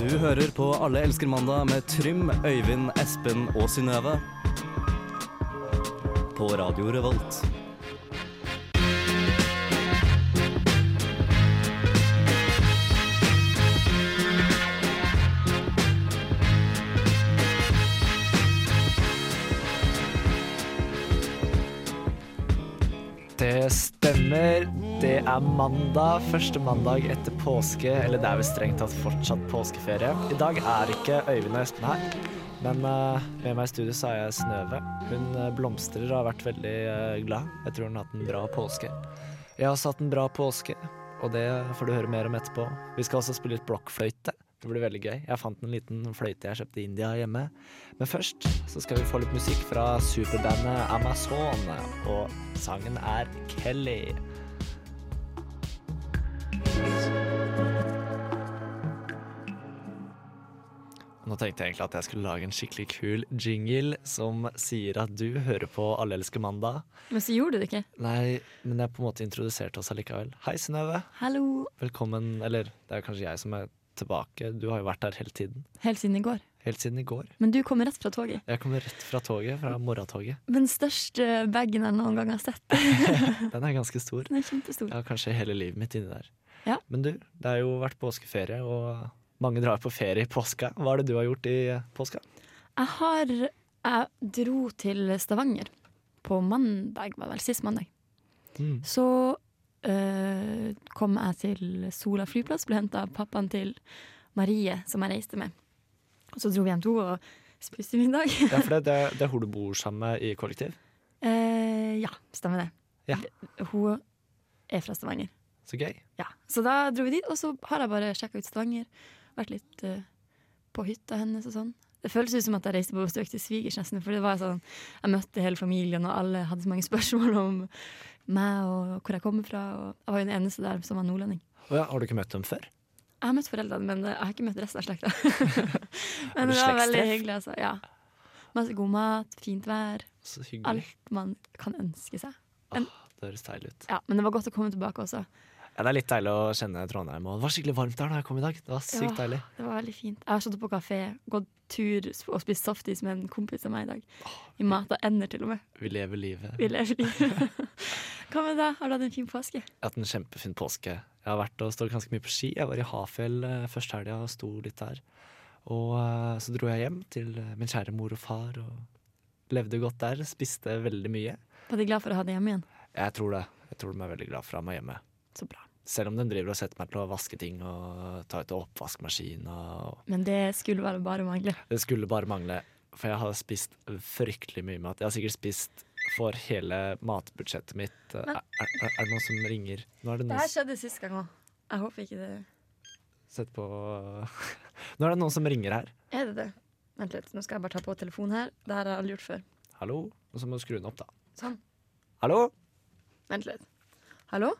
Du hører på Alle elsker mandag med Trym, Øyvind, Espen og Synnøve. På Radio Revolt. Det stemmer. Det er mandag. Første mandag etter påske. Eller det er vel strengt tatt fortsatt påskeferie. I dag er ikke Øyvind og Espen her. Men eh, med meg i studio så er jeg Snøve. Hun eh, blomstrer og har vært veldig eh, glad. Jeg tror hun har hatt en bra påske. Jeg har også hatt en bra påske, og det får du høre mer om etterpå. Vi skal også spille litt blokkfløyte. Det blir veldig gøy. Jeg fant en liten fløyte jeg kjøpte i India hjemme. Men først så skal vi få litt musikk fra superbandet Amazon, og sangen er Kelly. Nå tenkte jeg egentlig at jeg skulle lage en skikkelig kul jingle som sier at du hører på Alle elsker mandag. Men så gjorde du det ikke. Nei, men jeg på en måte introduserte oss allikevel. Hei, Synnøve. Hallo. Velkommen. Eller det er kanskje jeg som er tilbake. Du har jo vært her hele tiden. Helt siden i går. Helt siden i går. Men du kommer rett fra toget. Jeg kommer rett fra toget, fra morgentoget. Den største bagen jeg noen gang har sett. Den er ganske stor. Den er kjempestor. Jeg har kanskje hele livet mitt inni der. Ja. Men du, det har jo vært påskeferie, og mange drar på ferie i påska. Hva er det du har gjort i påska? Jeg har Jeg dro til Stavanger på mandag, var vel sist mandag. Mm. Så øh, kom jeg til Sola flyplass, ble henta av pappaen til Marie, som jeg reiste med. Og så dro vi hjem til henne og spiste middag. Ja, for det, det, er- det er hun du bor sammen med i kollektiv. Eh, ja, stemmer det. Ja. Hun er fra Stavanger. Så gøy. Ja, så da dro vi dit, og så har jeg bare sjekka ut Stavanger. Vært litt eh, på hytta hennes og sånn. Det føles ut som at jeg reiste på besøk til svigers, nesten. For det var sånn, jeg møtte hele familien, og alle hadde så mange spørsmål om meg og hvor jeg kommer fra. Og jeg var jo den eneste der som var nordlending. Å ja, har du ikke møtt dem før? Jeg har møtt foreldrene, men eh, jeg har ikke møtt resten av slekta. Var men det det var veldig slektstreff? hyggelig, altså. Ja. Masse god mat, fint vær. Så hyggelig. Alt man kan ønske seg. Ah, det høres deilig ut. Ja, Men det var godt å komme tilbake også. Ja, det er litt deilig å kjenne Trondheim. Og det var skikkelig varmt der da jeg kom i dag. Det var sykt Ja. deilig. Det var veldig fint. Jeg har stått på kafé, gått tur og spist softis med en kompis av meg i dag. I mat og ender, til og med. Vi lever livet. Vi lever livet. Hva med deg? Har du hatt en fin påske? Jeg har hatt en kjempefin påske. Jeg har vært og stått ganske mye på ski. Jeg var i Hafjell eh, første helga og sto litt der. Og eh, så dro jeg hjem til eh, min kjære mor og far og levde godt der. Spiste veldig mye. Var de glad for å ha deg hjemme igjen? Jeg tror det. Jeg tror de er veldig glad for å ha meg hjemme. Så bra. Selv om de driver og setter meg til å vaske ting og ta ut oppvaskmaskin og Men det skulle vel bare mangle. Det skulle bare mangle, for jeg har spist fryktelig mye mat. Jeg har sikkert spist for hele matbudsjettet mitt. Eh, Men- Er, er, er det noen som ringer? Nå er det Det noen her skjedde sist gang òg. Jeg håper ikke det Sett på Nå er det noen som ringer her. Er det det? Vent litt, nå skal jeg bare ta på telefonen her. Det her har jeg aldri gjort før. Hallo? Og så må du skru den opp, da. Sånn. Hallo? Vent litt. Hallo?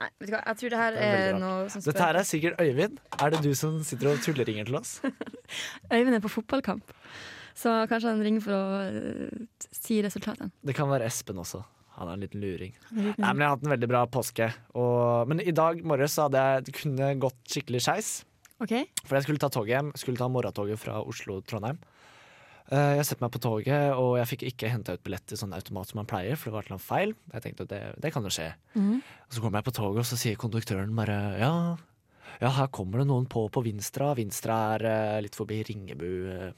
Nei, vet du hva, jeg tror det her Det er er, veldig rart. noe som Dette her er sikkert Øyvind. Er det du som sitter og tulleringer til oss? Øyvind er på fotballkamp, så kanskje han ringer for å eh, si resultatene. Det kan være Espen også. Han er en liten luring. er en liten Nei, men Jeg har hatt en veldig bra påske. Og, men i dag morges så hadde jeg det kunne gått skikkelig skeis. OK? For jeg skulle ta toget hjem. Skulle ta morgentoget fra Oslo til Trondheim. Eh, Jeg setter meg på toget, og jeg fikk ikke henta ut billett i sånn automat som man pleier, for det var et eller annet feil. Jeg tenkte at det, det kan jo skje. Og så kommer jeg på toget, og så sier konduktøren bare ja, ja, her kommer det noen på på Vinstra. Vinstra er eh, litt forbi Ringebu. eh,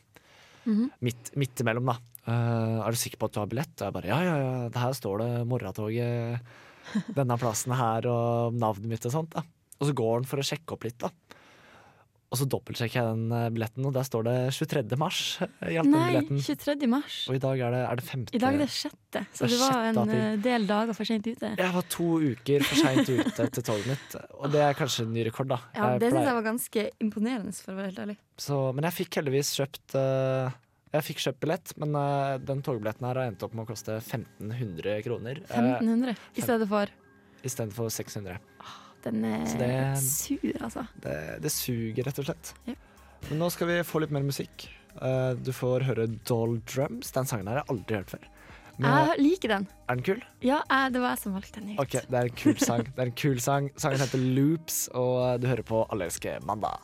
Mhm. midt, midt imellom, da. Eh, er du sikker på at du har billett? Og jeg bare ja, ja, ja, det her står det morgentoget, denne plassen her og navnet mitt og sånt. da. Og så går han for å sjekke opp litt, da. Og så dobbeltsjekker jeg den eh, billetten, og der står det 23. mars. eh, I alt den Nei, billetten. 23. mars. Og i dag er det, er det 5. I dag er det sjette, Det så er det var en sjette april. eh, del dager for sent ute. Jeg var to uker for seint ute til toget mitt, og det er kanskje en ny rekord, da. Ja, Jeg Det pleier- syns jeg var ganske imponerende, for å være helt ærlig. så, men jeg fikk heldigvis kjøpt eh, Jeg fikk kjøpt billett, men eh, den togbilletten her har endt opp med å koste 1500 kroner uh, 1500 i stedet for istedenfor 600. Den Så er det- sur, altså. Det, det suger, rett og slett. Ja. Men nå skal vi få litt mer musikk. Eh, du får høre Doll Drums. Den sangen her har jeg aldri hørt før. Men eh, Jeg liker den. er den kul? Ja, jeg, det var jeg som valgte den. ut. Ok, det er en kul eh, sang. Det er en kul sang. Sangen heter Loops, og du hører på Alle elsker mandag.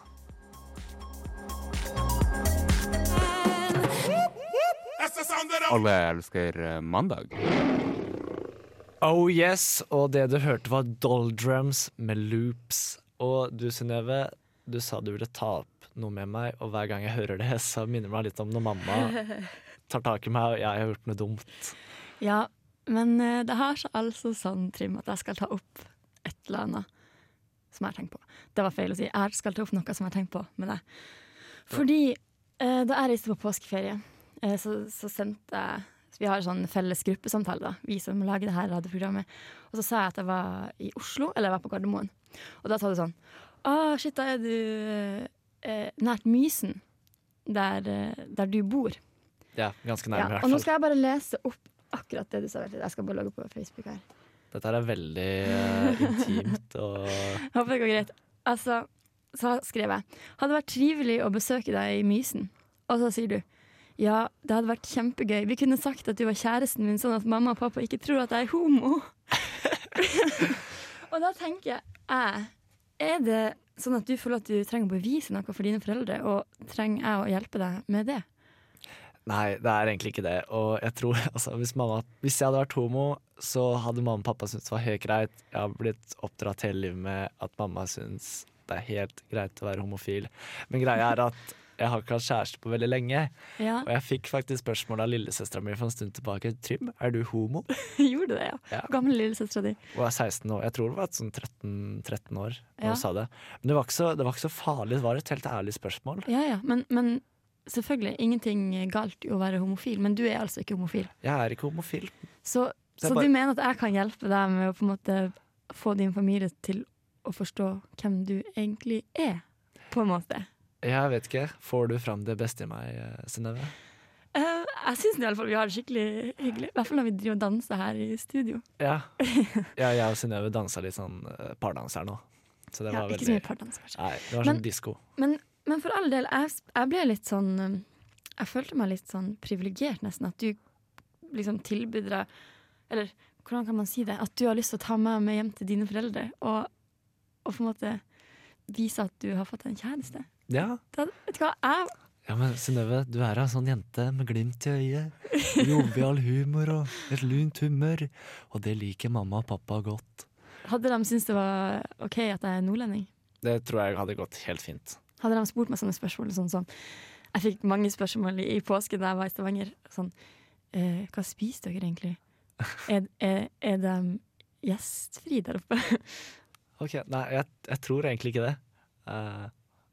Alle elsker eh, mandag. Oh yes, og det du hørte var Doldrums med loops. Og du Synnøve, du sa du ville ta opp noe med meg, og hver gang jeg hører det, så minner det meg litt om når mamma tar tak i meg og jeg har gjort noe dumt. Ja, men eh, det har seg altså sånn, Trim, at jeg skal ta opp et eller annet som jeg har tenkt på. Det var feil å si. Jeg skal ta opp noe som jeg har tenkt på med deg. Fordi eh, da jeg reiste på påskeferie, eh, så, så sendte jeg så Vi har en sånn felles gruppesamtale, da, vi som lager det her radioprogrammet. Og så sa jeg at jeg var i Oslo, eller jeg var på Gardermoen. Og da sa du sånn Å, shit, da er du eh, nært Mysen, der, eh, der du bor. Ja, ganske Ja, nærme i og nå hvert fall. skal jeg bare lese opp akkurat det du sa. Vent litt, Jeg skal bare logge på Facebook her. Dette her er veldig eh, intimt og Jeg Håper det går greit. Altså, så skrev jeg Hadde vært trivelig å besøke deg i Mysen. Og så sier du ja, det hadde vært kjempegøy. Vi kunne sagt at du var kjæresten min, sånn at mamma og pappa ikke tror at jeg er homo. og da tenker jeg, jeg, er det sånn at du føler at du trenger å bevise noe for dine foreldre, og trenger jeg å hjelpe deg med det? Nei, det er egentlig ikke det. Og jeg tror, altså, hvis, mamma, hvis jeg hadde vært homo, så hadde mamma og pappa syntes det var helt greit. Jeg har blitt oppdratt hele livet med at mamma syns det er helt greit å være homofil. Men greia er at jeg har ikke hatt kjæreste på veldig lenge. Ja, Og jeg fikk faktisk spørsmål av lillesøstera mi for en stund tilbake. Trym, er du homo? gjorde det, ja. Ja. Gamle lillesøstera di. Og jeg er 16 år. Jeg tror det var et sånn 13, 13 år da Ja. hun sa det. Men det var, ikke så, det var ikke så farlig. Det var et helt ærlig spørsmål. Ja, ja, men, men selvfølgelig, ingenting galt i å være homofil, men du er altså ikke homofil. Jeg er ikke homofil. Så, Så jeg så, bare- du mener at jeg kan hjelpe deg med å på en måte få din familie til å forstå hvem du egentlig er, på en måte? Jeg vet ikke. Får du fram det beste i meg, eh, Synnøve? Eh, jeg syns i alle fall vi har det skikkelig hyggelig, i hvert fall når vi driver og danser her i studio. Ja. ja jeg og Synnøve dansa litt sånn eh, pardans her nå. Så det Ja, var ikke så veldig mye pardans, kanskje. Nei, det var Men- sånn disko. Men, men for all del, jeg, jeg ble litt sånn um, Jeg følte meg litt sånn privilegert, nesten. At du liksom tilbød deg Eller hvordan kan man si det? At du har lyst til å ta meg med hjem til dine foreldre. Og, og på en måte vise at du har fått en kjæreste. Ja. Da, vet du hva, jeg, ja, men Synnøve, du er ei sånn jente med glimt i øyet. Jovial humor og et lunt humør. Og det liker mamma og pappa godt. Hadde de syntes det var OK at jeg er nordlending? Det tror jeg hadde gått helt fint. Hadde de spurt meg sånne spørsmål sånn som Jeg fikk mange spørsmål i, i påsken da jeg var i Stavanger. Sånn eh, Hva spiser dere egentlig? Er, er, er de gjestfrie der oppe? Ok, Nei, jeg, jeg tror egentlig ikke det. Eh,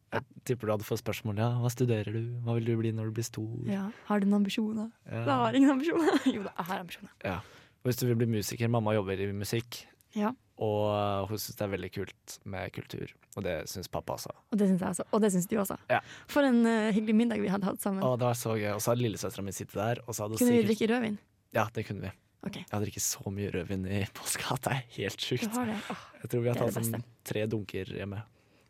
jeg tipper du hadde fått spørsmål ja, hva studerer du, hva vil du bli når du blir stor? Ja. Har du noen ambisjoner? Ja. Jeg har ingen ambisjoner. Jo da, jeg har ambisjoner. Ja. Og Hvis du vil bli musiker, mamma jobber i musikk, Ja. og eh, hun syns det er veldig kult med kultur. Og det syns pappa også. Og det syns jeg også. Og det syns du også. Ja. For en eh, hyggelig middag vi hadde hatt sammen. Og det var så gøy. Og så hadde lillesøstera mi sittet der. Og så hadde hun Kunne vi sikkert- drikke rødvin? Ja, det kunne vi. OK, Jeg hadde drukket så mye rødvin i påska at det er helt du sjukt. har det. Åh. Jeg tror vi har Det er tatt det sånn tre dunker hjemme.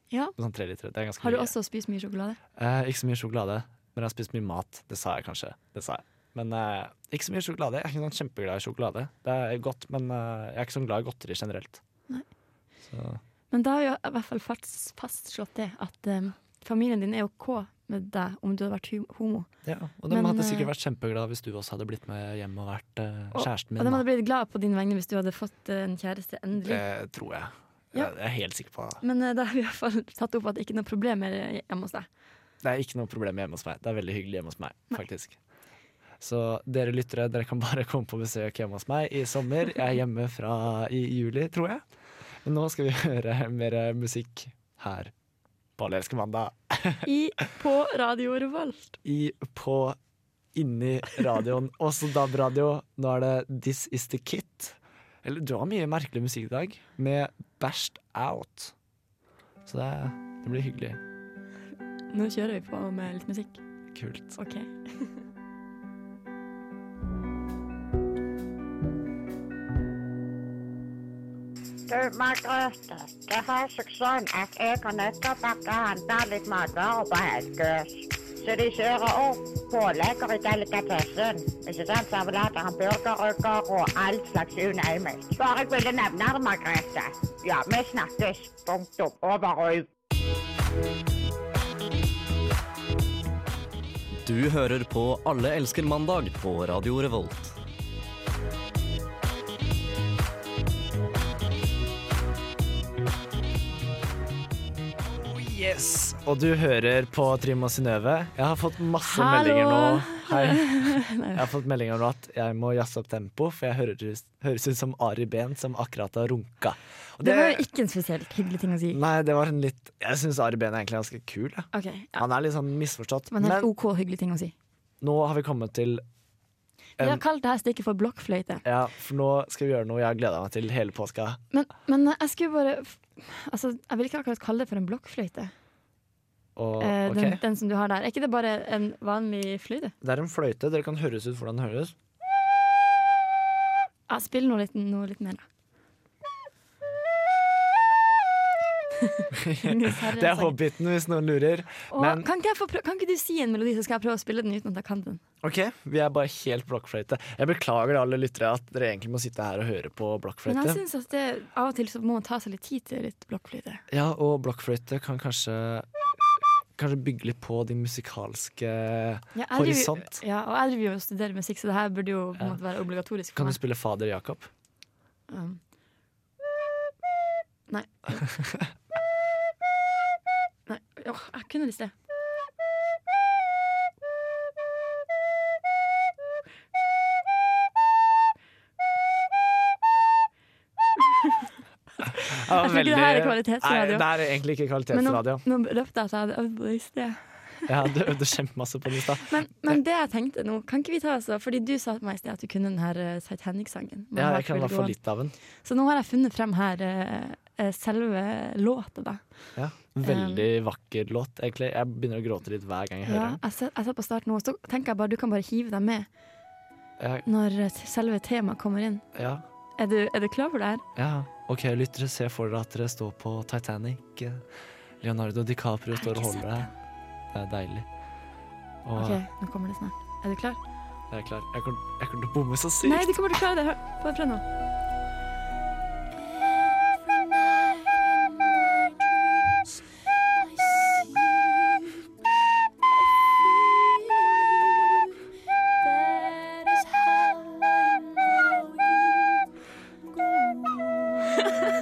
Ja. Sånn tre liter. Det er ganske Har du mye. også spist mye sjokolade? Eh, ikke så mye sjokolade, men jeg har spist mye mat. Det sa jeg kanskje. Det sa jeg. Men eh, ikke så mye sjokolade. Jeg er ikke sånn kjempeglad i sjokolade. Det er godt, men eh, jeg er ikke så glad i godteri generelt. Nei. Så Men da har vi i hvert fall fast- fastslått det at eh, familien din er OK med deg om du hadde vært hu- homo. Ja, og de Men, hadde eh, sikkert vært kjempeglade hvis du også hadde blitt med hjem og vært eh, Og- kjæresten min. og de da. hadde blitt glad på din vegne hvis du hadde fått eh, en kjæreste endelig. Det Eh, tror jeg. Ja. Jeg er helt sikker på det. Men eh, da har vi i hvert fall tatt opp at det ikke er noe problem er hjemme hos deg. Det er ikke noe problem hjemme hos meg. Det er veldig hyggelig hjemme hos meg, faktisk. Så dere lyttere, dere kan bare komme på besøk hjemme hos meg i sommer. Jeg er hjemme fra i juli, tror jeg. Men nå skal vi høre mer musikk her på Alle elsker mandag. I, på Radio Revolt. I, på, inni radioen. Også DAB-radio. Nå er det This Is The Kit. Eller du har mye merkelig musikk i dag, med Bashed Out. Så det, det blir hyggelig. Nå kjører vi på med litt musikk. Kult. Ok. Du, Margrethe, det har seg sånn at jeg har nettopp vært og handla litt matvarer på Helgøs. Så de kjører opp pålegger i delikatessen. Ikke sant? Servelater, hamburgerrygger og all slags unøyelig. Bare jeg ville nevne det, Margrethe. Ja, vi snakkes. Punktum. Over og ut. Du hører på Alle elsker mandag på Radio Revolt. Yes! Og du hører på Trym og Synnøve. Jeg har fått masse Hallo. meldinger nå. Hei. Jeg har fått meldinger nå at jeg må jazze opp tempo, for jeg høres, høres ut som Ari Behn som akkurat har runka. Og Det var jo ikke en spesielt hyggelig ting å si. Nei, det var en litt Jeg syns Ari Behn er egentlig ganske kul. Jeg. Ok, ja. Han er litt sånn misforstått. Men Men det er en OK hyggelig ting å si. nå har vi kommet til Vi har Um, kalt det her stikket for blokkfløyte. Ja, for nå skal vi gjøre noe jeg har gleda meg til hele påska. Men, men jeg skulle bare Altså, jeg vil ikke akkurat kalle det for en blokkfløyte. Og, Eh, ok, den, den som du har der. Er ikke det bare en vanlig fløyte? Det er en fløyte. Dere kan høres ut hvordan den høres. Ja, spill noe litt, noe litt mer, da. Ingen særlig Det er sang. Hobbiten, hvis noen lurer. Åh, men- kan, ikke jeg få prø- kan ikke du si en melodi, så skal jeg prøve å spille den uten at jeg kan den? Ok, Vi er bare helt blokkfløyte. Jeg beklager alle lyttere at dere egentlig må sitte her og høre på Men altså- jeg blokkfløyte. synes at det, av og til så må man ta seg litt tid til litt blokkfløyte. Ja, og blokkfløyte kan kanskje Kanskje bygge litt på de musikalske Ja, jeg driver jo- horisont. Ja, og jeg driver jo og studerer musikk, så det her burde jo på en Ja. måte være obligatorisk for Kan du meg. spille Fader Jakob? Um. Nei. Nei, åh, jeg kunne det i sted. Jeg tror ikke det her er Nei, kvalitetsradio. det er egentlig ikke Men nå, kvalitetsradio. nå røpte jeg at jeg hadde øvd på det i sted. Ja, du øvde kjempemasse på det i stad. Men, men det jeg tenkte nå, kan ikke vi ta altså, Fordi du sa til meg i sted at du kunne den her eh, Titanic-sangen. Man Ja, har jeg kan i full hvert fall gåen. litt av den. Så nå har jeg funnet frem her eh, eh, selve låta, da. Ja. Veldig vakker låt, egentlig. Jeg begynner å gråte litt hver gang jeg Ja, hører den. jeg set- jeg setter på start nå, så tenker jeg bare du kan bare hive deg med Jeg- når eh, selve temaet kommer inn. Ja, Er du, er du klar for det her? ja. OK, lyttere, se for dere at dere står på Titanic. Leonardo DiCaprio Jeg har står og ikke sett holder deg. Det er deilig. Og OK, nå kommer det snart. Er du klar? jeg er klar. Jeg kommer jeg kommer til å bomme så sykt. Nei, du kommer til å klare det. Hør, Bare prøv nå.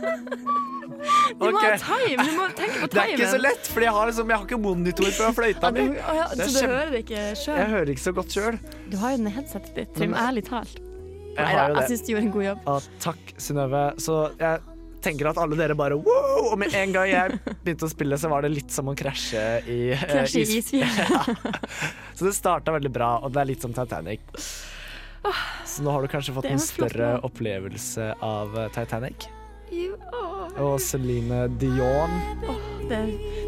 Du må ha Ok. time! Du må tenke på timen. Det er ikke så lett, for jeg har, liksom, jeg har ikke monitor på fløyta Ja, du, mi. å ja, Det er så du kjempe- hører det ikke Jeg sjøl? hører ikke så godt sjøl. Du har jo den i headsetet ditt, Trym. Men- Ærlig talt. Jeg Neida, har jo jeg det. syns du gjorde en god jobb. Ja, takk, Synnøve. Så jeg tenker at alle dere bare wow! Og med en gang jeg begynte å spille, så var det litt som å krasje i eh, Krasje is- i isfjellet. Så det starta veldig bra, og det er litt som Titanic. Så nå har du kanskje fått det en var flott større nå. opplevelse av eh, Titanic. Jo, åh. Og Celine Dion. Det,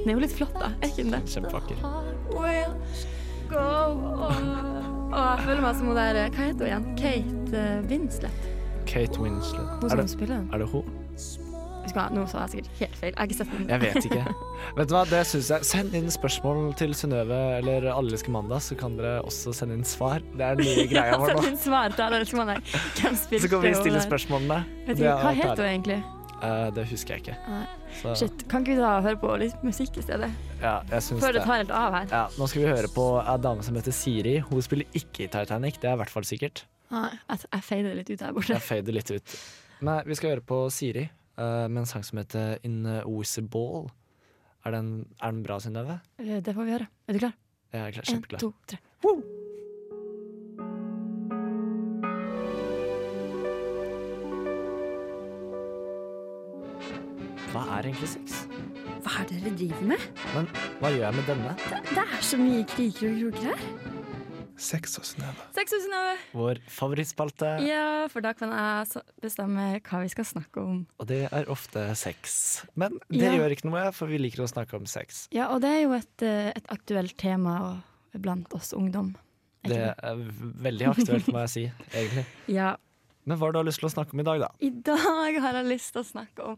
den er jo litt flott, da. Er ikke den det? Kjempevakker. Will go on. Åh, jeg føler meg som hun der eh, Hva heter hun igjen? Kate eh, Winslet. Kate Winslet. Hun Er som det, spiller den. er det hun? Husker jeg, Nå sa jeg sikkert helt feil. Jeg har ikke sett den. Jeg vet ikke. Vet du hva, det synes jeg Send inn spørsmål til Synnøve eller Alle elsker mandag, så kan dere også sende inn svar. Det er den nye greia Jeg har vår sett nå. min svar til alle som er Hvem spilte Så kan vi hun stille der? spørsmålene. Vet Det ikke, er Hva alt heter der. hun egentlig? Eh, det husker jeg ikke. Nei. Så, Shit, Kan ikke vi da høre på litt musikk i stedet? ja, jeg synes Før det det. tar helt av her. Ja, nå skal vi høre på ei dame som heter Siri. Hun spiller ikke i Titanic, det er i hvert fall sikkert. Nei, jeg, jeg fader litt ut her borte. Jeg fader litt ut. Nei, vi skal høre på Siri eh, med en sang som heter In Ball. Er den, er den bra, Synnøve? Eh, Det får vi gjøre. Er du klar? Jeg er klar- En, kjempeklar. to, tre. Hva er egentlig sex? Hva er det dere driver med? Men hva gjør jeg med denne? Det er så mye kriker og kroker her. Seks tusen over. Vår favorittspalte, Ja, for da kan jeg så- bestemme hva vi skal snakke om. og det er ofte sex. Men det Ja. gjør ikke noe, for vi liker å snakke om sex. Ja, og det er jo et, eh, et aktuelt tema og- blant oss ungdom. Er ikke Det er veldig aktuelt, må jeg si, egentlig. Ja, Men hva er det du har lyst til å snakke om i dag, da? I dag har jeg lyst til å snakke om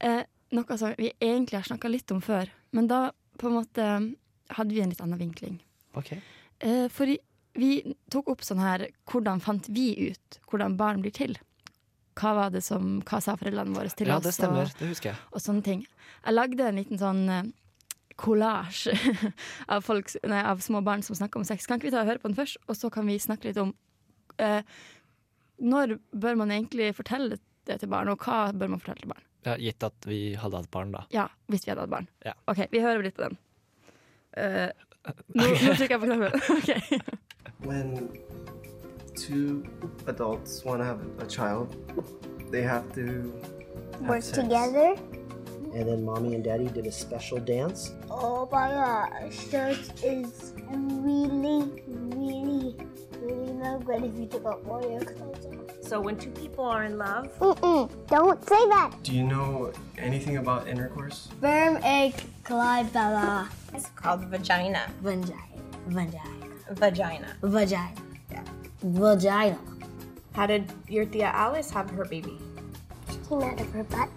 eh, noe som vi egentlig har snakka litt om før. Men da på en måte hadde vi en litt annen vinkling. Ok. Eh, for vi tok opp sånn her Hvordan fant vi ut hvordan barn blir til? Hva var det som, hva sa foreldrene våre til Ja, oss? det stemmer. Det husker jeg. Og, og sånne ting. Jeg lagde en liten sånn eh, collage av, folks- nei, av små barn som snakker om sex. Kan ikke vi ta og høre på den først, og så kan vi snakke litt om eh, når bør man egentlig fortelle det til barn, og hva bør man fortelle til barn? Ja, gitt at vi hadde hatt barn, da. Ja, hvis vi hadde hatt barn. Ja. OK, vi hører litt på den. Eh, nå, nå trykker jeg på knappen. Ok. when two adults want to have a child, they have to have work sex. together. And then mommy and daddy did a special dance. Oh my gosh, this is really, really, really not good if you took off all your clothes off. So when two people are in love, Mm-mm, don't say that. Do you know anything about intercourse? Sperm, egg, glide, bella, it's called vagina. vagina, vagina, Vagina. vagina, vagina. How did your Thea Alice have her baby? She came out of her butt.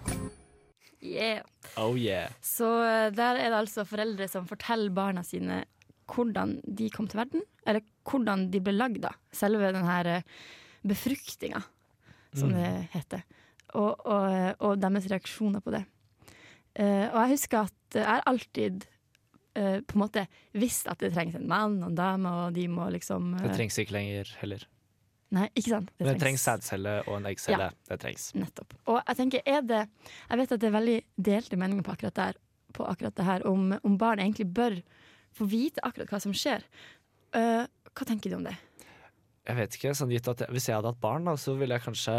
Yeah. Oh yeah. Så eh, der er det altså foreldre som forteller barna sine hvordan de kom til verden, eller hvordan de ble lagd, da. Selve den her eh, befruktninga, som Mm. det heter. Og, og, eh, og deres reaksjoner på det. Eh, og jeg husker at eh, jeg har alltid eh, på en måte visst at det trengs en mann og en dame, og de må liksom eh, Det trengs ikke lenger heller. Nei, ikke sant? Men det trengs sædcelle og en eggcelle. Det trengs. Nettopp. Og jeg tenker, er det Jeg vet at det er veldig delte meninger på akkurat, der, på akkurat det her, om, om barn egentlig bør få vite akkurat hva som skjer. Eh, hva tenker du om det? Jeg vet ikke, sånn gitt at jeg, Hvis jeg hadde hatt barn, da, så ville jeg kanskje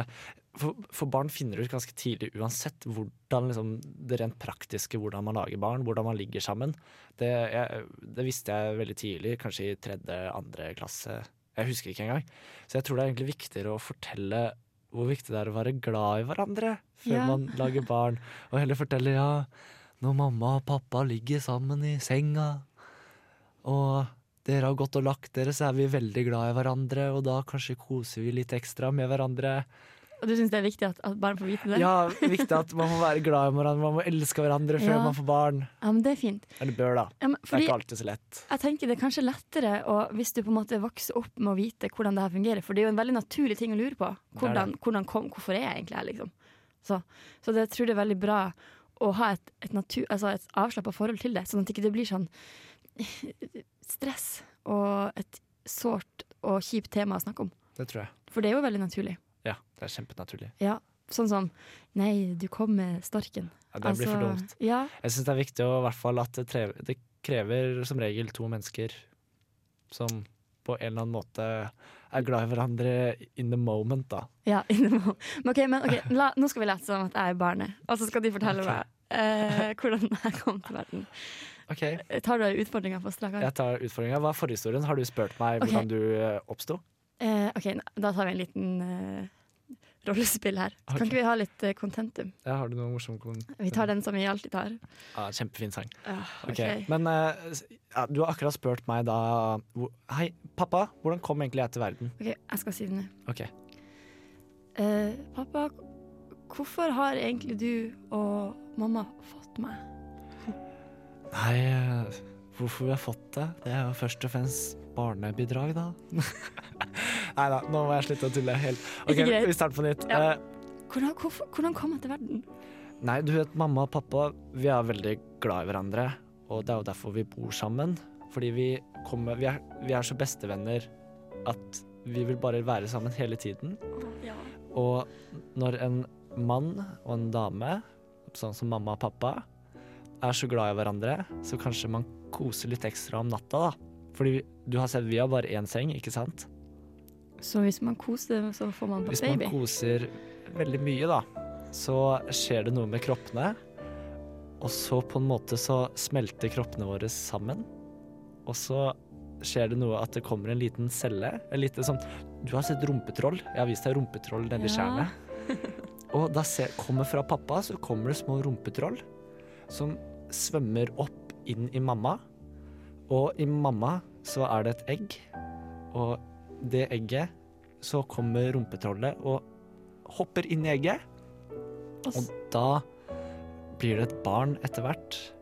for, for barn finner ut ganske tidlig uansett hvordan liksom, det rent praktiske, hvordan man lager barn, hvordan man ligger sammen. Det, jeg, det visste jeg veldig tidlig, kanskje i tredje, andre klasse. Jeg husker ikke engang. Så jeg tror det er egentlig viktigere å fortelle hvor viktig det er å være glad i hverandre før Ja. man lager barn, og heller fortelle ja, når mamma og pappa ligger sammen i senga, og dere har gått og lagt dere, så er vi veldig glad i hverandre, og da kanskje koser vi litt ekstra med hverandre. Og du syns det er viktig at, at barn får vite det? Ja, viktig at man må være glad i hverandre, man må elske hverandre før Ja. man får barn. Ja, men det er fint. Eller bør, da. Ja, men, Det er fordi ikke alltid så lett. jeg tenker det er kanskje lettere å, hvis du på en måte vokser opp med å vite hvordan det her fungerer, for det er jo en veldig naturlig ting å lure på. Det er Hvordan, hvordan kom, hvorfor er jeg egentlig her, liksom. Så, så det jeg tror det er veldig bra å ha et, et, natur- altså et avslappa forhold til det, sånn at ikke det ikke blir sånn stress og et sårt og kjipt tema å snakke om. Det tror jeg. For det er jo veldig naturlig. Ja, det er kjempenaturlig. Ja, sånn som 'nei, du kom med storken'. Ja, det blir for Altså- dumt. Ja, Jeg syns det er viktig å, i hvert fall at det, tre- det krever som regel to mennesker som på en eller annen måte er glad i hverandre in the moment, da. Ja, innimellom. Men ok, men ok, la, nå skal vi late som at jeg er barnet, og så skal de fortelle Ok. meg eh, hvordan jeg kom til verden. Eh, OK, jeg Tar du deg utfordringa på strak arm? tar utfordringa. Hva er forhistorien? Har du spurt meg Ok. hvordan du eh, oppsto? Eh, ok, n- da tar vi en liten eh, rollespill her. Ok. Kan ikke vi ha litt eh, contentum? Ja, har du noe morsomt? kon- Vi tar den som vi alltid tar. Ja, kjempefin sang. Ja, Ok, Men eh, s- ja, du har akkurat spurt meg da hvor- Hei, pappa, hvordan kom egentlig jeg til verden? ok, jeg skal si det nå. Ok, Eh, pappa, hvorfor har egentlig du og mamma fått meg? Nei, eh, hvorfor vi har fått det? Det er jo først og fremst barnebidrag, da. Nei da, nå må jeg slutte å tulle helt. Ok, Ikke greit. Vi starter på nytt. Ja. Eh, Hvordan, hvorfor, hvordan kom jeg til verden? nei, du vet, mamma og pappa, vi er veldig glad i hverandre. Og det er jo derfor vi bor sammen. Fordi vi, kommer, vi, er, vi er så bestevenner at vi vil bare være sammen hele tiden. Ja. Og når en mann og en dame, sånn som mamma og pappa, er så glad i hverandre, så kanskje man koser litt ekstra om natta, da. Fordi vi- du har sett, vi har bare én seng, ikke sant? Så hvis man koser, så får man Hvis man baby? koser veldig mye, da, så skjer det noe med kroppene. Og så på en måte så smelter kroppene våre sammen. Og så skjer det noe at det kommer en liten celle. En lite sånn Du har sett rumpetroll? Jeg har vist deg rumpetroll nedi Ja. skjærene. Og da ser, kommer fra pappa, så kommer det små rumpetroll som svømmer opp inn i mamma. Og i mamma så er det et egg, og det egget så kommer rumpetrollet og hopper inn i egget. Og s- Og da blir det et barn etter hvert.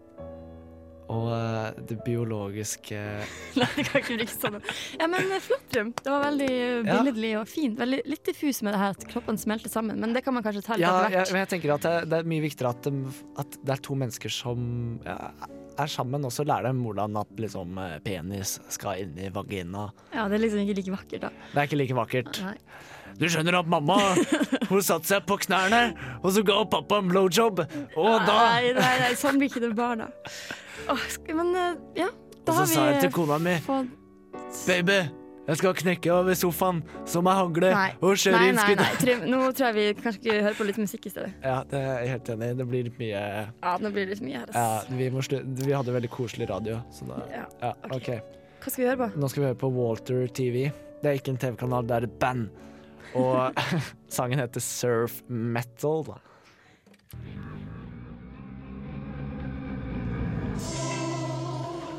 Og eh, det biologiske Nei, jeg kan ikke bruke sånn. Ja, men eh, flott drøm. Det var veldig eh, Ja. billedlig og fint. Veldig, litt diffus med det her at kroppen smelter sammen, men det kan man kanskje ta litt Ja, etter jeg, hvert. men jeg tenker at det, det er mye viktigere at, dem- at det er to mennesker som ja, er sammen, og så lærer dem hvordan at liksom, eh, penis skal inn i vagina. Ja, det er liksom ikke like vakkert, da. Det er ikke like vakkert. Nei. Du skjønner at mamma hun satte seg på knærne, og så ga pappa en blowjob. Og da Nei, nei, nei, sånn blir ikke det barna. Åh, sk- men eh, ja, Og da så har vi sa jeg til kona mi fått Baby, jeg skal knekke over sofaen som ei hagle Nei. og kjøre Nei, inn nei, nei. skuddet. Trym, nå tror jeg vi kanskje ikke hører på litt musikk i stedet. Ja, det er jeg helt enig i. Det blir litt mye Ja, nå blir det litt mye her. ja, ass. vi, må slu... vi hadde veldig koselig radio, så da Ja, Ja, OK. ok. Hva skal vi høre på? Nå skal vi høre på Walter TV. Det er ikke en TV-kanal, det er et band. Og sangen heter Surf Metal.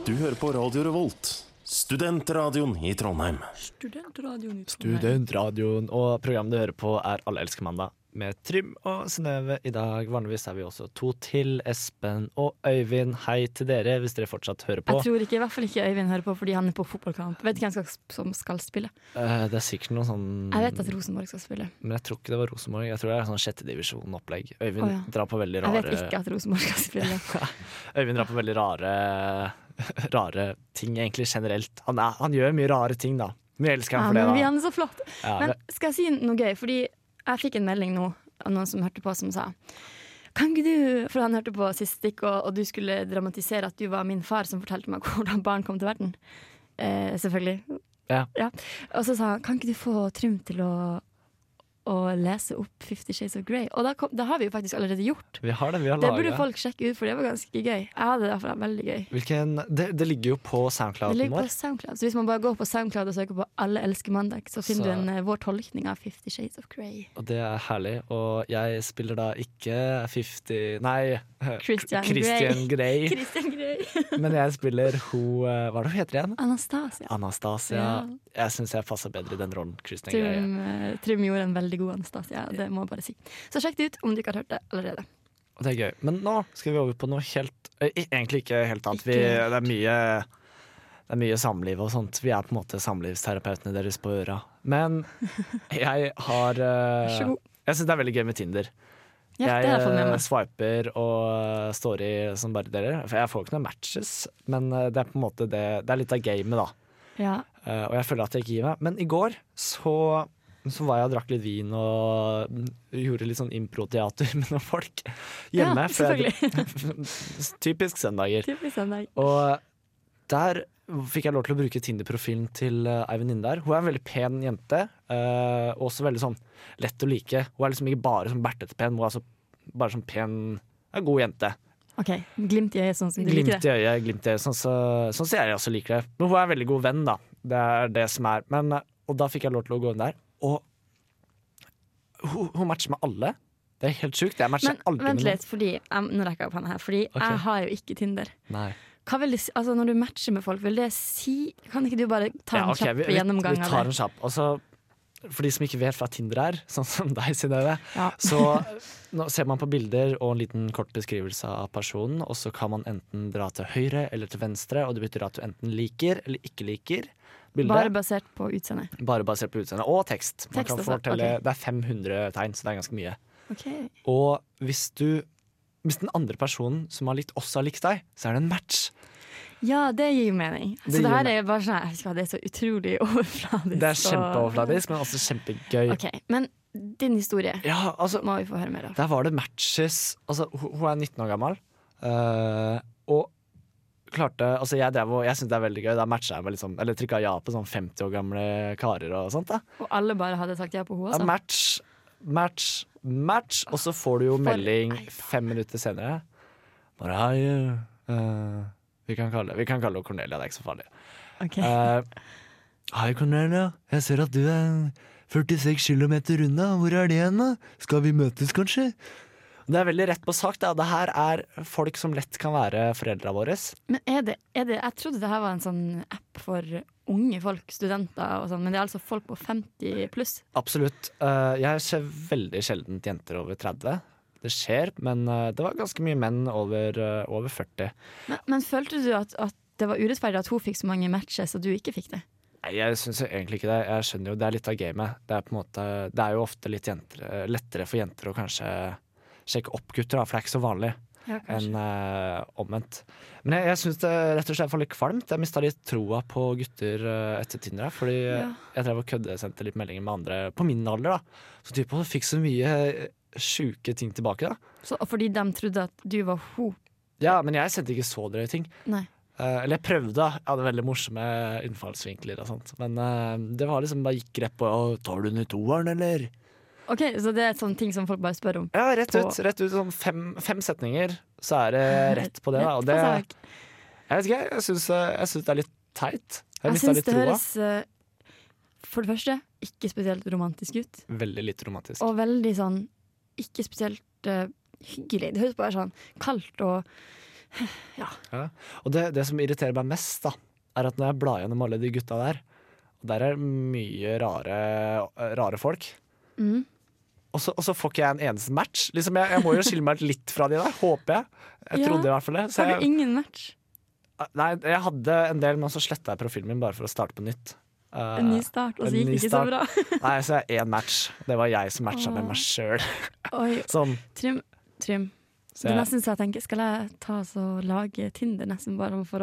Du hører på Radio Revolt, studentradioen i Trondheim. Studentradioen i Studentradioen og programmet du hører på er Alle elsker mandag med Trym og Synnøve i dag. Vanligvis er vi også to til. Espen og Øyvind, hei til dere hvis dere fortsatt hører på. Jeg tror ikke, i hvert fall ikke Øyvind hører på fordi han er på fotballkamp. Vet ikke hvem skal, som skal spille. Eh, det er sikkert noe sånn Jeg vet at Rosenborg skal spille. Men jeg tror ikke det var Rosenborg. Jeg tror det er sånn sjettedivisjon-opplegg. Øyvind Å, ja. drar på veldig Jeg vet rare ikke at Rosenborg skal spille. Øyvind drar på veldig rare Rare ting egentlig generelt. Han, er, han gjør mye rare ting, da. Men jeg elsker Ja, ham for men vi det, da. han er så flott. Ja, Men men- skal jeg si noe gøy? Fordi jeg fikk en melding nå av noen som hørte på, som sa kan ikke du, For han hørte på sist stikk, og, og du skulle dramatisere at du var min far som fortalte meg hvordan barn kom til verden. Eh, selvfølgelig. Ja. Og så sa han kan ikke du få Trym til å, å lese opp Fifty Shades of Grey? Og da, kom, det har vi jo faktisk allerede gjort. Vi har det, vi har Det burde laget. folk sjekke ut, for det var ganske gøy. Jeg hadde det i hvert fall veldig gøy. Hvilken, det, det ligger jo på Det soundclouden ligger på vår. SoundCloud. Så hvis man bare går på SoundCloud og søker på 'Alle elsker mandag', så finner Så- du en eh, vår tolkning av 'Fifty Shades of Grey'. Og det er herlig. Og jeg spiller da ikke 50 Nei, Christian Christian Grey. Christian Grey. Men jeg spiller hun eh, Hva er det hun heter igjen? Anastasia. Ah, Anastasia. Ja. Jeg syns jeg passer bedre i den rollen. Christian Grey. Trym, eh, Trym gjorde en veldig god Anastasia, det må jeg bare si. Så sjekk det ut om du ikke har hørt det allerede. Og det er gøy. Men nå skal vi over på noe helt eh, i- Egentlig ikke helt annet. Vi, Ikke det er mye det er mye samliv og sånt. Vi er på en måte samlivsterapeutene deres på øra. Men jeg har eh, Vær så god. Jeg syns det er veldig gøy med Tinder. Ja, det har jeg jeg fått med eh, meg. swiper og eh, står i som bare dere. For jeg får ikke noen matches, men eh, det er på en måte det Det er litt av gamet, da. Ja. Eh, og jeg føler at jeg ikke gir meg. Men i går så, så var jeg og drakk litt vin og mm, gjorde litt sånn improteater med noen folk hjemme. Ja, for jeg- typisk søndager. Typisk søndag. Og der fikk jeg lov til å bruke Tinder-profilen til eh, ei venninne der. Hun er en veldig pen jente, eh, og også veldig sånn lett å like. Hun er liksom ikke bare sånn bertete pen, hun er altså bare sånn pen, en god jente. OK. Glimt i øyet, sånn som du Glimt liker det. i øyet, glimt i øyet. Sånn som sånn som jeg også liker det. Men hun er en veldig god venn, da. Det er det som er. Men, eh, og da fikk jeg lov til å gå inn der, og hun, hun matcher med alle. Det er helt sjukt. Jeg matcher Men aldri vent med litt, fordi jeg, nå rekker jeg opp hånda her. Fordi Ok. jeg har jo ikke Tinder. noen. Nei. Hva vil det si, altså Når du matcher med folk, vil det si Kan ikke du bare ta Ja, en ok, vi- kjapp gjennomgang vi, vi av tar det? en kjapp. Altså, for de som ikke vet hva Tinder er, sånn som deg, Synnøve, Ja. så nå ser man på bilder og en liten kort beskrivelse av personen, og så kan man enten dra til høyre eller til venstre, og det betyr at du enten liker eller ikke liker bildet. Bare Bare, basert på utseendet. basert på utseende. Og tekst. Man Tekst kan også, fortelle, ok. Det er 500 tegn, så det er ganske mye. Ok. Og hvis du hvis den andre personen som har likt, også har likt deg, så er det en match. Ja, det gir mening. Det så det gir her me- er bare sånn Jeg vet ikke hva, det er så utrolig overfladisk. Det er og- kjempeoverfladisk, men også kjempegøy. Ok, Men din historie Ja, altså, må vi få høre mer av. Der var det matches Altså, hun hun er 19 år gammel eh, Og klarte Altså, jeg, drev og- jeg synes det er veldig gøy Da matcha jeg med liksom Eller trykket ja på sånn 50 år gamle karer og sånt da Og alle bare hadde sagt ja på henne, ja, altså. Match, match, match Og så får du jo melding fem minutter senere Bare hei eh, vi, kan kalle, vi kan kalle henne Cornelia, det er ikke så farlig Ok. Eh, Hei, Cornelia. Jeg ser at du er 46 km unna. Hvor er det hen, da? Skal vi møtes, kanskje? Det er veldig rett på sak. da. Det her er folk som lett kan være foreldra våre. Men er det, er det Jeg trodde det her var en sånn app for unge folk, studenter og sånn, men det er altså folk på 50 pluss. Absolutt. Eh, Jeg ser veldig sjelden jenter over 30. det skjer, men eh, det var ganske mye menn over, eh, over 40. Men, men følte du at, at det var urettferdig at hun fikk så mange matches, og du ikke fikk det? Nei, jeg syns jo egentlig ikke det. Jeg skjønner jo det er litt av gamet. Det er på en måte Det er jo ofte litt jenter, eh, lettere for jenter å kanskje sjekke opp gutter, da, for det er ikke så vanlig. Ja, Enn eh, omvendt. Men jeg, jeg syns det rett og slett var litt kvalmt. Jeg mista litt troa på gutter eh, etter Tinder. da, Fordi eh, Ja. jeg drev og køddesendte litt meldinger med andre på min alder. da Så typen fikk så mye eh, sjuke ting tilbake. da Så, og fordi de trodde at du var hun? Ja, Men jeg sendte ikke så drøye ting. Nei. Eh, eller jeg prøvde, da. jeg hadde veldig morsomme innfallsvinkler og sånt. Men eh, det var liksom bare gikk rett på «Å, 'Tar du den i toeren, eller?' Ok, Så det er sånne ting som folk bare spør om? Ja, rett På- ut. Rett ut sånn fem, fem setninger, så er det rett på det. Da. Og det Rett på sak. jeg vet ikke, jeg syns, jeg syns det er litt teit. Jeg Jeg mista syns litt det troa. høres eh, for det første ikke spesielt romantisk ut, Veldig litt romantisk. og veldig sånn ikke spesielt eh, hyggelig. Det høres bare sånn kaldt og Ja. Og det, det som irriterer meg mest, da, er at når jeg blar gjennom alle de gutta der, og der er mye rare, rare folk, mm. og så, og så får ikke jeg en eneste match. Liksom, jeg, jeg må jo skille meg litt fra de der, håper jeg. Jeg Ja. trodde i hvert fall det. Så Har du jeg, Ah, ingen match? nei, jeg hadde en del, men så sletta jeg profilen min bare for å starte på nytt. Eh, En ny start, og en så gikk ny det ikke så start. bra. nei, så jeg én match. Det var jeg som matcha med meg sjøl. Oi, Sånn. Trym, Trym. Så Det er jeg- nesten så jeg tenker, skal jeg ta så lage Tinder nesten bare for å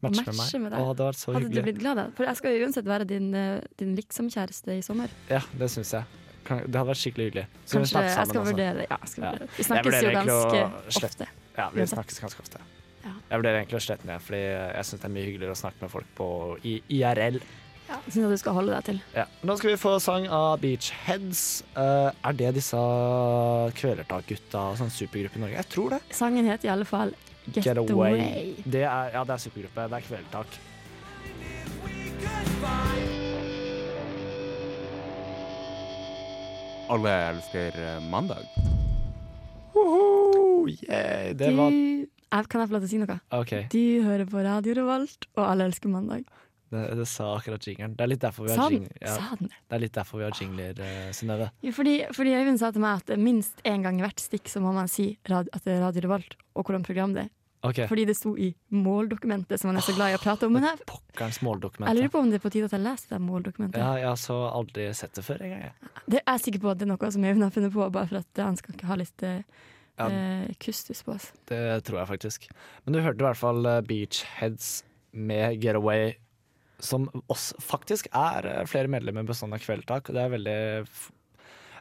å Matche med matche med, meg. deg? Å, det var så Hadde du hyggelig. blitt glad da? For jeg skal jo uansett være din, eh, din liksom-kjæreste i sommer. Ja, det syns jeg. Kan- Det hadde vært skikkelig hyggelig. Så vi Kanskje snakker jeg skal sammen også. vurdere det. Ja, jeg skal Ja. vurdere det. Vi Jeg snakkes vurderer jo egentlig å ganske slette- ofte. Ja, vi Uansett. snakkes ganske ofte. Ja. Jeg vurderer egentlig å slette den, jeg, fordi jeg syns det er mye hyggeligere å snakke med folk på i IRL. Ja, Syns jeg du skal holde deg til. Ja. Nå skal vi få sang av Beachheads. Eh, er det disse Kvelertak-gutta, sånn supergruppe i Norge? Jeg tror det. Sangen heter i alle fall Get, Away. Det er, ja, det er supergruppe. Det er Kvelertak. Alle elsker eh, mandag. Woho! Yeah, det var Du, jeg, kan jeg få lov til å si noe? OK. Du hører på Radio Revolt, og alle elsker mandag. Det, det sa akkurat jingeren. Det er litt derfor vi Sa har den? jingler. Ja, Sa den? det er litt derfor vi har jingler, eh, Synnøve. Jo, fordi, fordi Øyvind sa til meg at minst én gang i hvert stikk så må man si rad, at det er Radio Revolt, og hvordan program det er. OK. Fordi det sto i måldokumentet, som man er så glad i å prate om. Men jeg, Pokkerens jeg lurer måldokument. på om det er på tide at jeg leser det måldokumentet. Ja, jeg har så aldri sett det før engang. jeg. Det er jeg sikker på at det er noe som Øyvind har funnet på, bare for at han skal ikke ha litt eh, Ja. eh, kustus på oss. Det tror jeg faktisk. Men du hørte i hvert fall eh, Beachheads med Getaway, som oss faktisk er eh, flere medlemmer bestående av Kveldtak. og Det er veldig, f-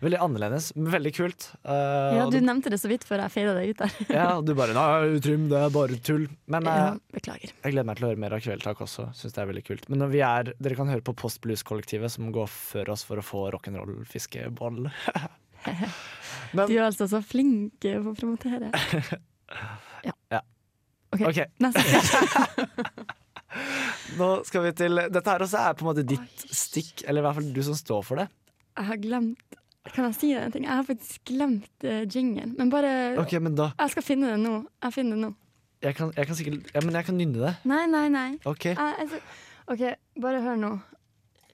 veldig annerledes, men veldig kult. Eh, Ja, og du nevnte det så vidt før jeg feida deg ut der. ja, og du bare Nei, Trym, det er bare tull. Men eh, Ja, beklager. jeg gleder meg til å høre mer av Kveldtak også. Synes det er veldig kult Men når vi er, dere kan høre på Post Blues-kollektivet, som går før oss for å få rock'n'roll-fiskeboll. Du er altså så flink eh, på å promotere. Ja. Ja. OK. Ok. Neste. Nå skal vi til Dette her også er på en måte ditt stikk, eller i hvert fall du som står for det. Jeg har glemt Kan jeg si deg en ting? Jeg har faktisk glemt uh, jingen. Men bare Ok, men da Jeg skal finne den nå. Jeg finner den nå. Jeg kan, jeg kan sikkert Ja, men jeg kan nynne det. Nei, nei, nei. OK. Jeg, jeg, skal- OK, bare hør nå,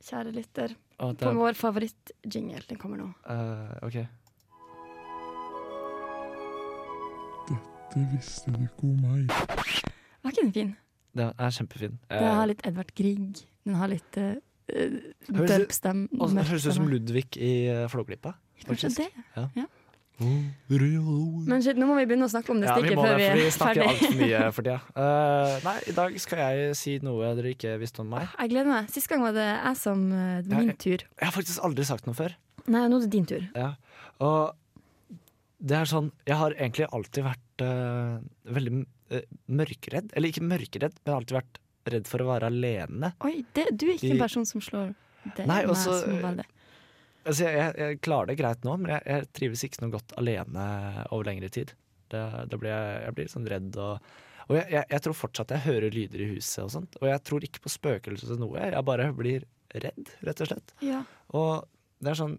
kjære lytter, Å, det på er- vår favorittjingle. Den kommer nå. eh, ok. Det visste du ikke om meg. Var ikke den fin? Den er kjempefin. Eh, Den har litt Edvard Grieg. Den har litt uh, Høres- dølpstem. og så høres mørk det ut som stemme. Ludvig i eh, Flåklypa. Kanskje faktisk. det. Ja. Mm. Ja. Men Men shit, nå må vi begynne å snakke om det Ja, vi stikket må før det, vi for vi er snakker altfor ferdig. mye for tida. Eh, nei, i dag skal jeg si noe dere ikke visste om meg. Jeg gleder meg. Sist gang var det jeg som eh, det var Ja, min tur. Jeg har faktisk aldri sagt noe før. Nei, nå er det din tur. Ja. Og det er sånn Jeg har egentlig alltid vært eh, veldig eh, mørkredd. Eller ikke mørkredd, men alltid vært redd for å være alene. Oi, det, du er I- ikke en person som slår det Nei, meg også- som veldig. Altså, jeg, jeg, jeg klarer det greit nå, men jeg, jeg trives ikke så noe godt alene over lengre tid. Det, da blir jeg, jeg blir sånn redd og Og jeg, jeg, jeg tror fortsatt jeg hører lyder i huset og sånt. Og jeg tror ikke på spøkelser eller noe, jeg bare blir redd, rett og slett. Ja. Og det er sånn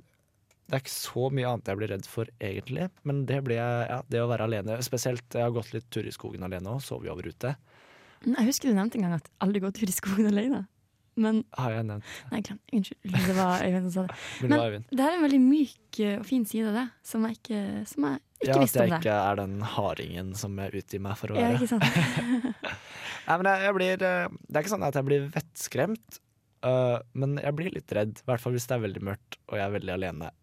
det er ikke så mye annet jeg blir redd for, egentlig. Men det blir jeg, ja, det å være alene. Spesielt, jeg har gått litt tur i skogen alene og sovet over ute. Nei, Jeg husker du nevnte en gang at aldri gå tur i skogen alene. Men Har jeg nevnt Nei, glem Unnskyld. Det var Øyvind som sa det. Men det Men var Øyvind. det er en veldig myk eh, og fin side av det, som jeg ikke, som jeg ikke Ja, at visste jeg om det. ikke er den hardingen som jeg utgir meg for å Ja, være. ikke sant? Nei, men jeg, jeg blir, eh, det er ikke sånn at jeg blir vettskremt, eh, men jeg blir litt redd. I hvert fall hvis det er veldig mørkt og jeg er veldig alene.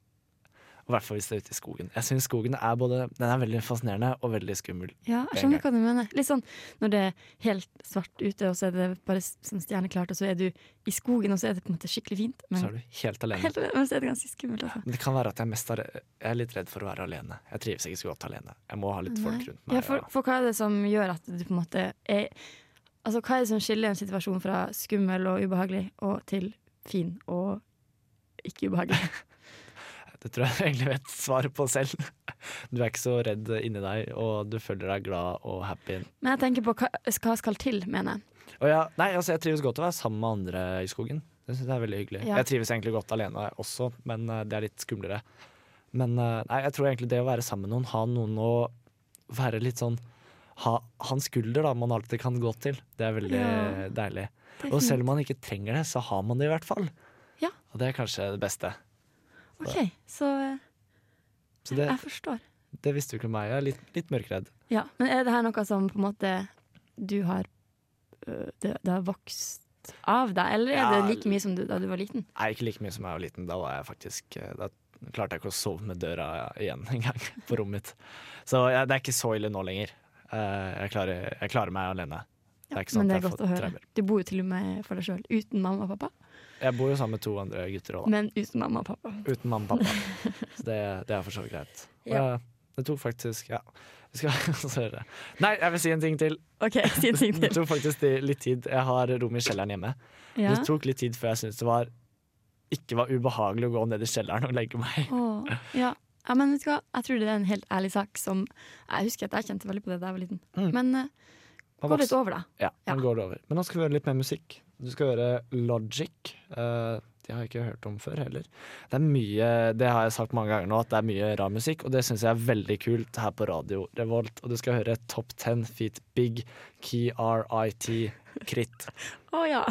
Og I hvert fall hvis det er ute i skogen. Jeg synes skogen er både Den er veldig fascinerende og veldig skummel. Ja, på en jeg skjønner gang. hva du mener. Litt sånn når det er helt svart ute, og så er det bare s- sånn stjerneklart, og så er du i skogen, og så er det på en måte skikkelig fint. Men, Så er du helt alene. Mm. Helt alene, men så er det ganske skummelt, altså. Men det kan være at jeg, mest er, jeg er litt redd for å være alene. Jeg trives ikke så godt alene. Jeg må ha litt folk Nei. rundt meg. Ja, for, og- for hva er det som gjør at du på en måte er Altså, hva er det som skiller en situasjon fra skummel og ubehagelig og til fin og ikke ubehagelig? Det tror jeg egentlig vet svaret på selv. Du er ikke så redd inni deg, og du føler deg glad og happy. Men jeg tenker på hva, hva skal til, mener jeg. Og ja, nei, altså, jeg trives godt å være sammen med andre i skogen. Det synes jeg er veldig hyggelig. Ja. Jeg trives egentlig godt alene også, men eh, det er litt skumlere. Men eh, nei, jeg tror egentlig det å være sammen med noen, ha noen å være litt sånn ha, ha en skulder da, man alltid kan gå til. Det er veldig Ja. deilig. Det er Og selv fint. om man ikke trenger det, så har man det i hvert fall. Ja. Og det er kanskje det beste. Så- OK, så eh, Så det, jeg forstår. det visste jo ikke meg. Jeg er litt, litt mørkredd. Ja, Men er det her noe som på en måte du har øh, det, det har vokst av deg, eller er Ja. det like mye som du, da du var liten? Nei, ikke like mye som jeg var liten. Da var jeg faktisk eh, Da klarte jeg ikke å sove med døra igjen engang på rommet mitt. Så jeg, det er ikke så ille nå lenger. Eh, Jeg klarer, jeg klarer meg alene. Det er ikke sånn Men at det jeg er har godt å fått høre. traumer. Du bor jo til og med for deg sjøl, uten mamma og pappa. Jeg bor jo sammen med to andre gutter òg, da. Men uten mamma og pappa. Uten mamma og pappa. Så det, det er for så vidt greit. Og Ja. jeg- det tok faktisk Ja, vi skal så høre. Nei, jeg vil si en ting til. OK, si en ting Det til. tok faktisk de- litt tid. Jeg har rom i kjelleren hjemme. Ja. Det tok litt tid før jeg syntes det var ikke var ubehagelig å gå ned i kjelleren og legge meg. Åh, ja. ja, men vet du hva? Jeg tror det er en helt ærlig sak som Jeg husker at jeg kjente veldig på det da jeg var liten. Mm. Men eh, Man gå vokser- litt over, da. Ja, nå går det over. Men nå skal vi høre litt mer musikk. Du skal høre Logic. Eh, det har jeg ikke hørt om før heller. Det er mye, det har jeg sagt mange ganger nå, at det er mye rar musikk, og det syns jeg er veldig kult her på Radio Revolt. Og du skal høre Top 10 Feet Big KRIT Krit. Å ja.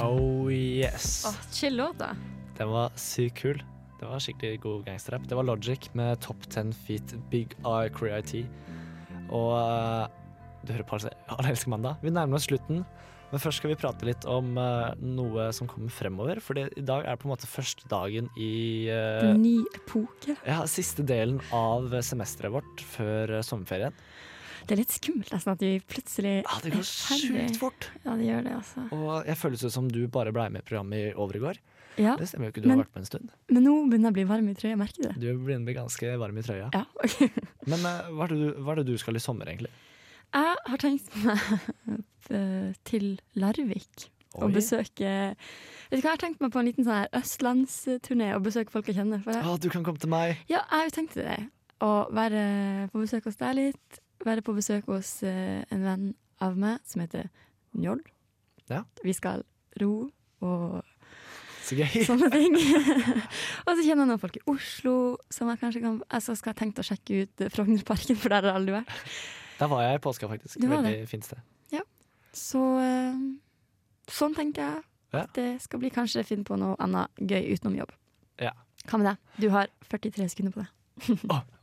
Oh yes. Åh, chill låt, da. Den var sykt kul. Det var skikkelig god gangsterrapp. Det var Logic med Top 10 Feet Big Eye Create. Og eh, du hører på altså Alle elsker mandag. Vi nærmer oss slutten, men først skal vi prate litt om eh, noe som kommer fremover. For i dag er det på en måte første dagen i eh, Ny epoke. ja, siste delen av semesteret vårt før eh, sommerferien. Det er litt skummelt nesten at vi plutselig Ja, det går sjukt fort. Ja, det gjør det, altså. Og jeg føles ut som du bare blei med i programmet i over i går. Ja. Det stemmer jo ikke, du Men- har vært med en stund. Men nå begynner jeg å bli varm i trøya, merker du det? Du begynner å bli ganske varm i trøya. Men eh, hva, er det du, hva er det du skal i sommer, egentlig? Jeg har tenkt meg eh, til Larvik og Oi. besøke Vet du hva, jeg har tenkt meg på en liten sånn her østlandsturné og besøke folk jeg kjenner. For jeg, Ah, du kan komme til meg. Ja, jeg har jo tenkt det. Å være på besøk hos deg litt. Være på besøk hos eh, en venn av meg som heter Njord. Ja. Vi skal ro og Så gøy. sånne ting. og så kjenner jeg noen folk i Oslo som jeg kanskje kan altså skal jeg tenkt å sjekke ut eh, Frognerparken, for der har jeg aldri vært. Der var jeg i påska, faktisk. Du var Veldig det. fint sted. Ja. Så eh, sånn tenker jeg. Ja. at Det skal bli kanskje finne på noe annet gøy utenom jobb. Ja. Hva med deg? Du har 43 sekunder på deg.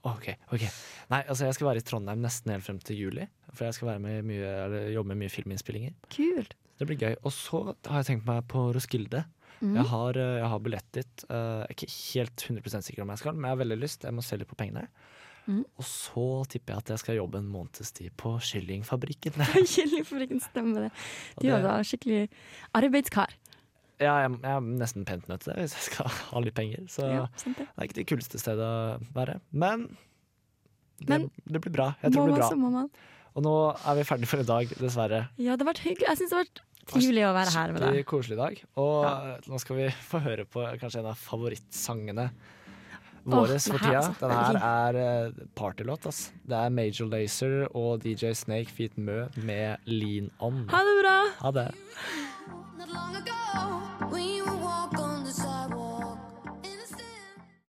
Ok, ok. Nei, altså jeg skal være i Trondheim nesten helt frem til juli. For jeg skal være med i mye, eller jobbe med mye filminnspillinger. Kult. Det blir gøy. Og så har jeg tenkt meg på Roskilde. Mhm. Jeg har, eh, jeg har billett dit. Eh, Jeg er ikke helt 100 sikker om jeg skal, men jeg har veldig lyst. Jeg må se litt på pengene. Mhm. Og så tipper jeg at jeg skal jobbe en måneds tid på Kyllingfabrikken. Kyllingfabrikken stemmer det. Og Du det- er da skikkelig arbeidskar. Ja, jeg, jeg er nesten pent nødt til det hvis jeg skal ha litt penger. Så Ja, sant det det. er ikke det kuleste stedet å være. Men det, Men det blir bra. Jeg tror det Må man, blir så må bra. man. Og nå er vi ferdig for i dag, dessverre. Ja, det har vært hyggelig. Jeg syns det har vært trivelig å være her med Skikkelig deg. koselig dag. Og nå skal vi få høre på kanskje en av favorittsangene våre Åh, for det her, tida. altså. Den Det her er er eh, partylåt, ass. Det er Major Lazer og DJ Snake Feet Mø med Lean On. Ha det bra! Ha det. Not long ago, we were